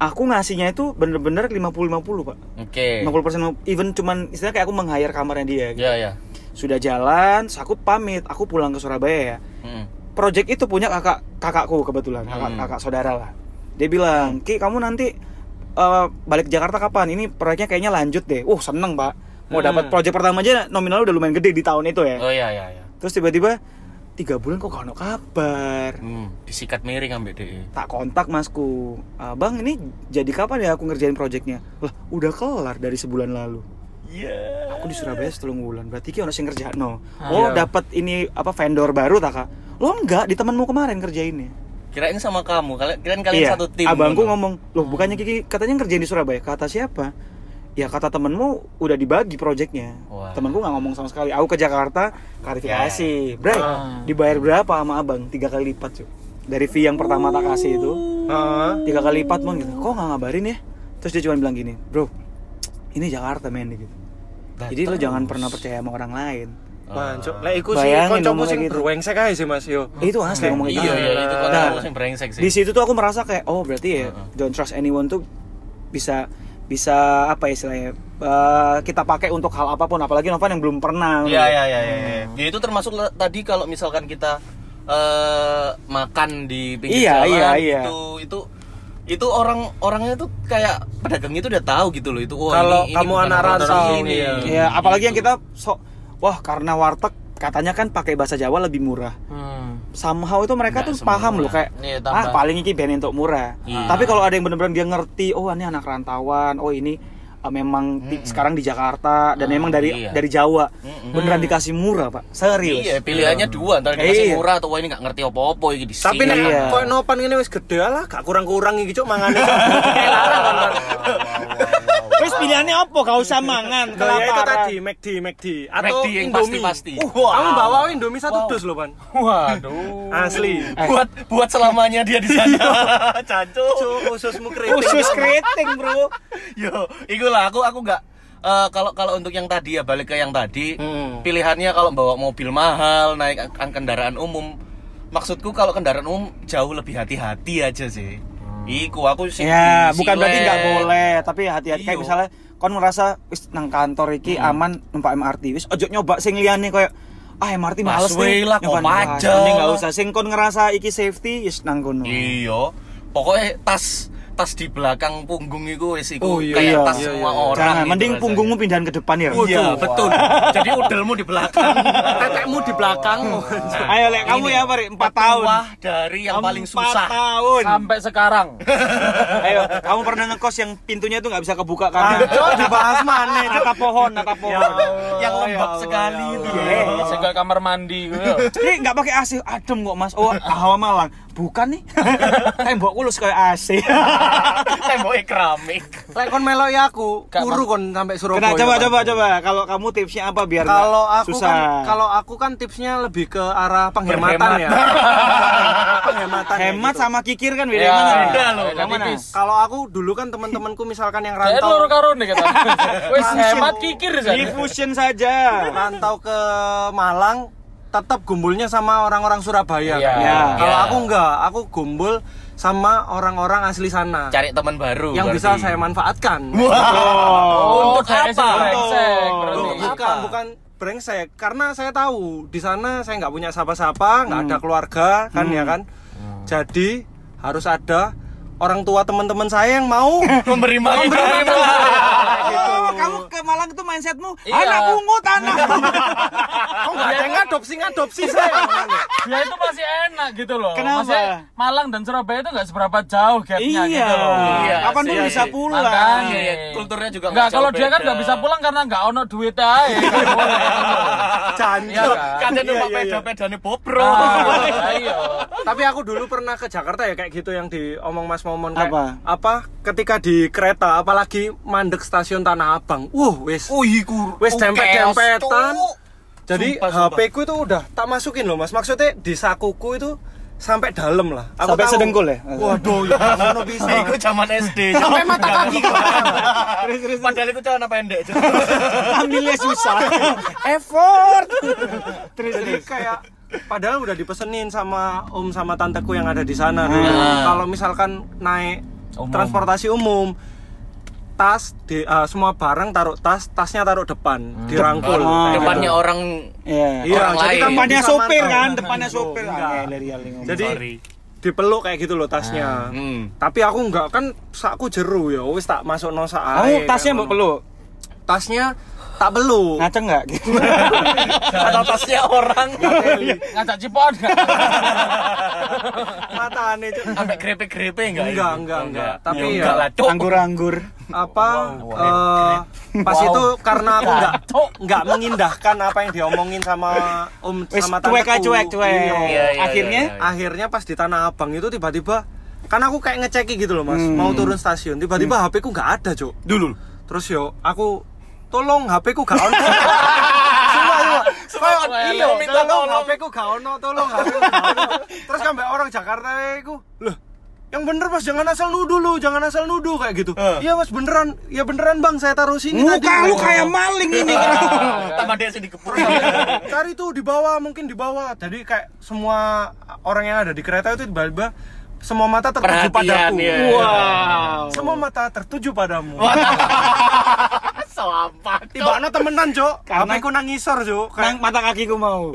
[SPEAKER 3] Aku ngasihnya itu bener-bener 50-50, Pak.
[SPEAKER 4] oke
[SPEAKER 3] 50% even cuman istilahnya kayak aku meng-hire kamarnya dia gitu.
[SPEAKER 4] ya ya
[SPEAKER 3] Sudah jalan, terus aku pamit, aku pulang ke Surabaya ya.
[SPEAKER 4] Mm-mm.
[SPEAKER 3] Project itu punya kakak kakakku kebetulan, kakak,
[SPEAKER 4] Hmm.
[SPEAKER 3] kakak saudara lah. Dia bilang, "Ki, kamu nanti eh, balik ke Jakarta kapan? Ini proyeknya kayaknya lanjut deh." Uh, seneng, Pak. Mau dapat project pertama aja nominalnya udah lumayan gede di tahun itu
[SPEAKER 2] Hmm.
[SPEAKER 3] ya.
[SPEAKER 4] oh iya iya iya
[SPEAKER 3] Terus tiba-tiba tiga bulan kok gak ada kabar.
[SPEAKER 4] Hmm, disikat miring ambek DE.
[SPEAKER 3] tak kontak masku abang ini jadi kapan ya aku ngerjain projectnya lah udah kelar dari sebulan lalu Iya. Aku di Surabaya setelah bulan. Berarti ki ono sing kerja no. Oh, dapat ini apa vendor baru tak kak? Lo enggak di temanmu kemarin kerjainnya.
[SPEAKER 4] Kirain sama kamu, kalian kalian, kalian satu tim.
[SPEAKER 3] Iya,
[SPEAKER 4] gitu.
[SPEAKER 3] Abangku
[SPEAKER 4] ngono.
[SPEAKER 3] ngomong, loh bukannya Kiki katanya ngerjain di Surabaya? Kata siapa? Ya kata temenmu udah dibagi projectnya.
[SPEAKER 4] Wah.
[SPEAKER 3] Temenku nggak ngomong sama sekali. Aku ke Jakarta
[SPEAKER 4] Ya,
[SPEAKER 3] klarifikasi, Bray.
[SPEAKER 4] Ah.
[SPEAKER 3] Dibayar berapa sama abang? Tiga kali lipat cuy. Dari fee yang pertama tak kasih itu
[SPEAKER 5] Heeh.
[SPEAKER 3] tiga kali lipat mon gitu kok nggak ngabarin ya terus dia cuma bilang gini bro ini Jakarta men gitu jadi lo jangan pernah percaya sama orang lain
[SPEAKER 5] Mancok. Lah iku sih
[SPEAKER 3] Bayangin
[SPEAKER 5] kancamu
[SPEAKER 3] ngomong
[SPEAKER 5] sing
[SPEAKER 3] kayak gitu.
[SPEAKER 5] berwengsek ae sih Mas yo.
[SPEAKER 3] Eh, itu asli ngomong gitu
[SPEAKER 4] Hmm. Iya, iya, itu kan
[SPEAKER 3] Nah,
[SPEAKER 4] aku yang brengsek sih.
[SPEAKER 3] di situ tuh aku merasa kayak oh berarti ya don't trust anyone tuh bisa bisa apa ya istilahnya eh, kita pakai untuk hal apapun apalagi Novan yang belum pernah
[SPEAKER 4] Iya, iya, iya, iya. iya. Ya itu termasuk le- tadi kalau misalkan kita eh makan di pinggir
[SPEAKER 3] Iya,
[SPEAKER 4] jalan
[SPEAKER 3] iya, iya.
[SPEAKER 4] itu itu itu orang orangnya tuh kayak pedagang itu udah tahu gitu loh itu oh,
[SPEAKER 5] Kalau
[SPEAKER 4] ini- ini
[SPEAKER 5] kamu
[SPEAKER 4] bukan
[SPEAKER 5] anak
[SPEAKER 4] orang
[SPEAKER 5] rantau,
[SPEAKER 4] sini.
[SPEAKER 5] iya.
[SPEAKER 3] ya
[SPEAKER 4] Hmm,
[SPEAKER 3] apalagi yang
[SPEAKER 4] gitu.
[SPEAKER 3] kita sok wah karena warteg katanya kan pakai bahasa Jawa lebih murah
[SPEAKER 6] Hmm.
[SPEAKER 3] somehow itu mereka
[SPEAKER 4] Nggak
[SPEAKER 3] tuh paham
[SPEAKER 4] semua.
[SPEAKER 3] loh kayak
[SPEAKER 6] Iya,
[SPEAKER 3] ah
[SPEAKER 6] tambah.
[SPEAKER 3] paling ini band untuk murah
[SPEAKER 4] Iya.
[SPEAKER 3] tapi kalau ada yang bener-bener dia ngerti oh ini anak rantauan oh ini uh, memang di- sekarang di Jakarta dan memang dari
[SPEAKER 4] iya.
[SPEAKER 3] dari Jawa
[SPEAKER 4] Mm-mm.
[SPEAKER 3] beneran dikasih murah pak serius
[SPEAKER 4] Iya, pilihannya dua, antara dikasih
[SPEAKER 3] Iya.
[SPEAKER 4] murah atau wah ini nggak ngerti apa-apa iki di
[SPEAKER 5] Tapi
[SPEAKER 4] sini.
[SPEAKER 5] nek
[SPEAKER 3] Iya.
[SPEAKER 5] koyo nopan ngene wis gede lah, gak kurang-kurang iki cuk (laughs) mangane. Larang kan.
[SPEAKER 3] terus pilihannya apa gak usah mangan
[SPEAKER 4] Oh,
[SPEAKER 5] Nah,
[SPEAKER 4] iya,
[SPEAKER 5] ya itu
[SPEAKER 3] kelaparan.
[SPEAKER 5] tadi McD, McD atau
[SPEAKER 4] McD yang
[SPEAKER 5] Indomie.
[SPEAKER 4] pasti-pasti.
[SPEAKER 5] Uh, Kamu bawa Indomie satu dus loh, Pan.
[SPEAKER 6] Waduh.
[SPEAKER 3] (laughs)
[SPEAKER 5] Asli.
[SPEAKER 4] buat buat selamanya dia di sana. Cacu.
[SPEAKER 5] Cuk, ususmu keriting.
[SPEAKER 3] khusus keriting bro
[SPEAKER 4] (laughs) Yo, ikulah aku aku nggak eh, kalau kalau untuk yang tadi ya balik ke yang tadi
[SPEAKER 3] Hmm.
[SPEAKER 4] pilihannya kalau bawa mobil mahal naik ang- ang- kendaraan umum maksudku kalau kendaraan umum jauh lebih hati-hati aja sih. Iku aku sih.
[SPEAKER 3] ya
[SPEAKER 4] di eh.
[SPEAKER 3] bukan berarti
[SPEAKER 4] siwek.
[SPEAKER 3] nggak boleh tapi hati-hati kayak
[SPEAKER 4] Iya.
[SPEAKER 3] misalnya kon merasa wis nang kantor iki
[SPEAKER 4] Hmm.
[SPEAKER 3] aman numpak MRT wis ojo nyoba sing liyane koyo ah MRT males
[SPEAKER 4] Busway lah,
[SPEAKER 3] Nyoba
[SPEAKER 4] Kopaja
[SPEAKER 3] MRT, mending nggak
[SPEAKER 4] lah.
[SPEAKER 3] usah sing kon ngerasa iki safety wis nang kono
[SPEAKER 4] Iya. pokoknya tas tas di belakang punggung itu wis iku
[SPEAKER 3] Oh, iya,
[SPEAKER 4] kayak
[SPEAKER 3] iya.
[SPEAKER 4] tas
[SPEAKER 3] Iya,
[SPEAKER 4] semua orang
[SPEAKER 3] Jangan,
[SPEAKER 4] gitu
[SPEAKER 3] mending
[SPEAKER 4] rasanya.
[SPEAKER 3] punggungmu pindahan ke depan ya.
[SPEAKER 4] Iya, betul.
[SPEAKER 3] (laughs)
[SPEAKER 4] Jadi udelmu di belakang, tetekmu di belakang.
[SPEAKER 3] Ayo lek kamu ya Pak, 4 tahun.
[SPEAKER 4] Wah, dari yang paling susah.
[SPEAKER 3] Empat tahun.
[SPEAKER 2] (laughs) Sampai sekarang.
[SPEAKER 3] Ayo, kamu pernah ngekos yang pintunya tuh nggak bisa kebuka karena
[SPEAKER 5] Cok, dibahas mana? Cok?
[SPEAKER 3] atap pohon,
[SPEAKER 4] Ya
[SPEAKER 3] atap pohon.
[SPEAKER 4] yang
[SPEAKER 3] Oh, ya
[SPEAKER 4] lembab sekali itu. ya. (laughs)
[SPEAKER 3] Eh,
[SPEAKER 2] Segala kamar mandi gitu.
[SPEAKER 3] Ini nggak pakai AC, adem kok mas. Oh, hawa Malang. Bukan
[SPEAKER 5] (laughs)
[SPEAKER 3] nih. Tembok kulus kayak AC.
[SPEAKER 4] Temboknya keramik.
[SPEAKER 5] Lek kon meloi aku,
[SPEAKER 2] Gak
[SPEAKER 5] kuru kon sampai Surabaya.
[SPEAKER 3] Kena Nah, coba coba coba. Kalau kamu tipsnya apa biar nggak
[SPEAKER 5] ya, Kalau aku
[SPEAKER 3] susah?
[SPEAKER 5] kan kalau aku kan tipsnya lebih ke arah penghematan ya. penghematan. ya
[SPEAKER 3] hemat
[SPEAKER 5] gitu.
[SPEAKER 3] sama kikir kan beda
[SPEAKER 2] Ya,
[SPEAKER 3] mana? nih?
[SPEAKER 4] beda loh.
[SPEAKER 3] Yang mana?
[SPEAKER 2] Tipis.
[SPEAKER 5] Kalau aku dulu kan teman-temanku misalkan yang
[SPEAKER 2] Saya loro
[SPEAKER 5] rantau
[SPEAKER 2] karo nih kata. Wis hemat kikir saya.
[SPEAKER 3] Diffusion saja.
[SPEAKER 5] rantau ke Malang tetap gumbulnya sama orang-orang Surabaya.
[SPEAKER 2] Iya.
[SPEAKER 5] kan?
[SPEAKER 3] Iya.
[SPEAKER 5] Kalau aku enggak, aku gumbul sama orang-orang asli sana
[SPEAKER 4] Cari teman baru.
[SPEAKER 5] yang bisa
[SPEAKER 4] berarti.
[SPEAKER 5] saya manfaatkan.
[SPEAKER 2] Oh,
[SPEAKER 4] Untuk
[SPEAKER 2] saya
[SPEAKER 4] apa?
[SPEAKER 2] sebrengsek, berarti.
[SPEAKER 5] Loh, bukan bukan brengsek karena saya tahu di sana saya nggak punya siapa-siapa nggak
[SPEAKER 2] Hmm.
[SPEAKER 5] ada keluarga kan ya kan jadi harus ada orang tua teman-teman saya yang
[SPEAKER 2] (laughs)
[SPEAKER 5] mau
[SPEAKER 4] (laughs) Memberi makan.
[SPEAKER 2] Iya,
[SPEAKER 3] Oh, kamu ke Malang itu mindsetmu
[SPEAKER 2] Iya.
[SPEAKER 3] anak pungut anak.
[SPEAKER 5] kok nggak ada yang ngadopsi ngadopsi
[SPEAKER 4] Iya,
[SPEAKER 5] saya
[SPEAKER 2] Dia Iya, itu masih enak gitu loh.
[SPEAKER 3] Kenapa?
[SPEAKER 2] Masih Malang dan Surabaya itu nggak seberapa jauh gapnya
[SPEAKER 3] iya.
[SPEAKER 2] gitu loh.
[SPEAKER 4] Iya
[SPEAKER 3] Kapan pun
[SPEAKER 4] sih.
[SPEAKER 3] bisa pulang.
[SPEAKER 2] Makanya.
[SPEAKER 4] Iya, kulturnya juga nggak
[SPEAKER 2] Nggak,
[SPEAKER 4] jauh
[SPEAKER 2] kalau dia kan
[SPEAKER 4] beda.
[SPEAKER 2] nggak bisa pulang karena nggak ono duit
[SPEAKER 3] (laughs)
[SPEAKER 2] aja. Iya
[SPEAKER 5] Jancok.
[SPEAKER 2] kan?
[SPEAKER 5] Iya,
[SPEAKER 4] Kadang numpak peda-pedane bobro.
[SPEAKER 2] Ah, iya.
[SPEAKER 5] tapi aku dulu pernah ke Jakarta ya kayak gitu yang diomong Mas Momon kayak,
[SPEAKER 3] Apa?
[SPEAKER 5] apa ketika di kereta apalagi mandek stasiun Tanah Abang uh wis
[SPEAKER 4] Oh, iku.
[SPEAKER 5] Wes,
[SPEAKER 4] Oh,
[SPEAKER 5] dempet-dempetan.
[SPEAKER 4] chaos, cuk.
[SPEAKER 5] Jadi
[SPEAKER 4] Sumpah, sumpah.
[SPEAKER 5] HP ku itu udah tak masukin loh mas Maksudnya di sakuku itu sampai dalam lah
[SPEAKER 3] Sampai
[SPEAKER 5] tahu.
[SPEAKER 3] sedengkul ya?
[SPEAKER 5] Waduh ya ngono bisa.
[SPEAKER 4] iya. Iku zaman SD. Sampai mata kaki kok. Padahal itu celana pendek. Cuk.
[SPEAKER 3] (laughs) Ambilnya susah. (laughs) Effort.
[SPEAKER 5] Jadi kayak Padahal udah dipesenin sama om sama tanteku yang ada di sana dulu. Kalau misalkan naik
[SPEAKER 2] Umum.
[SPEAKER 5] transportasi umum tas di eh, semua barang taruh tas tasnya taruh depan dirangkul
[SPEAKER 3] Oh,
[SPEAKER 5] kayak gitu.
[SPEAKER 4] Depannya orang
[SPEAKER 3] Iya.
[SPEAKER 5] Iya,
[SPEAKER 4] orang
[SPEAKER 5] jadi
[SPEAKER 4] lain.
[SPEAKER 5] tanpa-
[SPEAKER 3] Depannya
[SPEAKER 5] Bisa
[SPEAKER 3] sopir
[SPEAKER 5] mantau.
[SPEAKER 3] kan, depannya sopir.
[SPEAKER 5] Enggak.
[SPEAKER 3] Ah, ngele, real nih ngomong.
[SPEAKER 5] jadi
[SPEAKER 4] Sorry.
[SPEAKER 5] dipeluk kayak gitu loh
[SPEAKER 3] Ah,
[SPEAKER 5] tasnya
[SPEAKER 4] Hmm.
[SPEAKER 5] tapi aku nggak kan sakku jeru ya wis tak masuk no sak
[SPEAKER 3] kamu
[SPEAKER 5] ae,
[SPEAKER 3] tasnya
[SPEAKER 5] kayak
[SPEAKER 3] mbok
[SPEAKER 5] ngono.
[SPEAKER 3] peluk.
[SPEAKER 5] tasnya tak peluk
[SPEAKER 3] Ngaceng enggak?
[SPEAKER 5] (laughs)
[SPEAKER 3] Nah,
[SPEAKER 4] Atau tasnya orang.
[SPEAKER 2] Ngajak
[SPEAKER 3] (laughs)
[SPEAKER 2] cipon nggak?
[SPEAKER 5] mata aneh Cuk.
[SPEAKER 4] Sampai grepe-grepe enggak?
[SPEAKER 5] Enggak,
[SPEAKER 4] ini?
[SPEAKER 5] enggak, enggak. Tapi
[SPEAKER 4] ya,
[SPEAKER 5] ya-
[SPEAKER 4] enggak lah, Cuk.
[SPEAKER 3] Anggur-anggur.
[SPEAKER 5] apa eh, pas itu karena aku
[SPEAKER 3] (laughs)
[SPEAKER 5] nggak nggak mengindahkan apa yang diomongin sama om
[SPEAKER 3] Wes
[SPEAKER 5] sama
[SPEAKER 3] cuek aja
[SPEAKER 5] tanteku.
[SPEAKER 3] cuek cuek.
[SPEAKER 5] Iya.
[SPEAKER 4] Iya, iya,
[SPEAKER 3] Akhirnya
[SPEAKER 4] iya, iya.
[SPEAKER 5] akhirnya pas di tanah abang itu tiba-tiba kan aku kayak ngeceki gitu loh
[SPEAKER 3] Hmm.
[SPEAKER 5] mas mau turun stasiun tiba-tiba HP ku nggak ada cuk
[SPEAKER 4] Dulu.
[SPEAKER 5] terus yo aku tolong HP ku gak ono Sumpah, sumpah. Kayak,
[SPEAKER 2] iya,
[SPEAKER 4] minta
[SPEAKER 5] tolong
[SPEAKER 4] tolong.
[SPEAKER 5] HP ku gak ono tolong HP ku gak ono terus kan mbak orang Jakarta ku loh yang bener mas jangan asal nuduh lu jangan asal nuduh kayak gitu iya mas beneran ya beneran bang saya taruh sini
[SPEAKER 3] muka
[SPEAKER 5] tadi
[SPEAKER 3] lu kayak maling ini.
[SPEAKER 4] Tambah dia sini kepur.
[SPEAKER 5] (laughs) Iya. cari tuh di bawah mungkin di bawah jadi kayak semua orang yang ada di kereta itu tiba-tiba semua mata tertuju
[SPEAKER 4] Perhatian,
[SPEAKER 5] padaku
[SPEAKER 4] iya.
[SPEAKER 5] wow semua mata tertuju padamu
[SPEAKER 4] Selamat.
[SPEAKER 5] tiba-tiba temenan cok
[SPEAKER 3] Karena-
[SPEAKER 5] HP ku nangisor cok
[SPEAKER 3] Nang mata kakiku mau.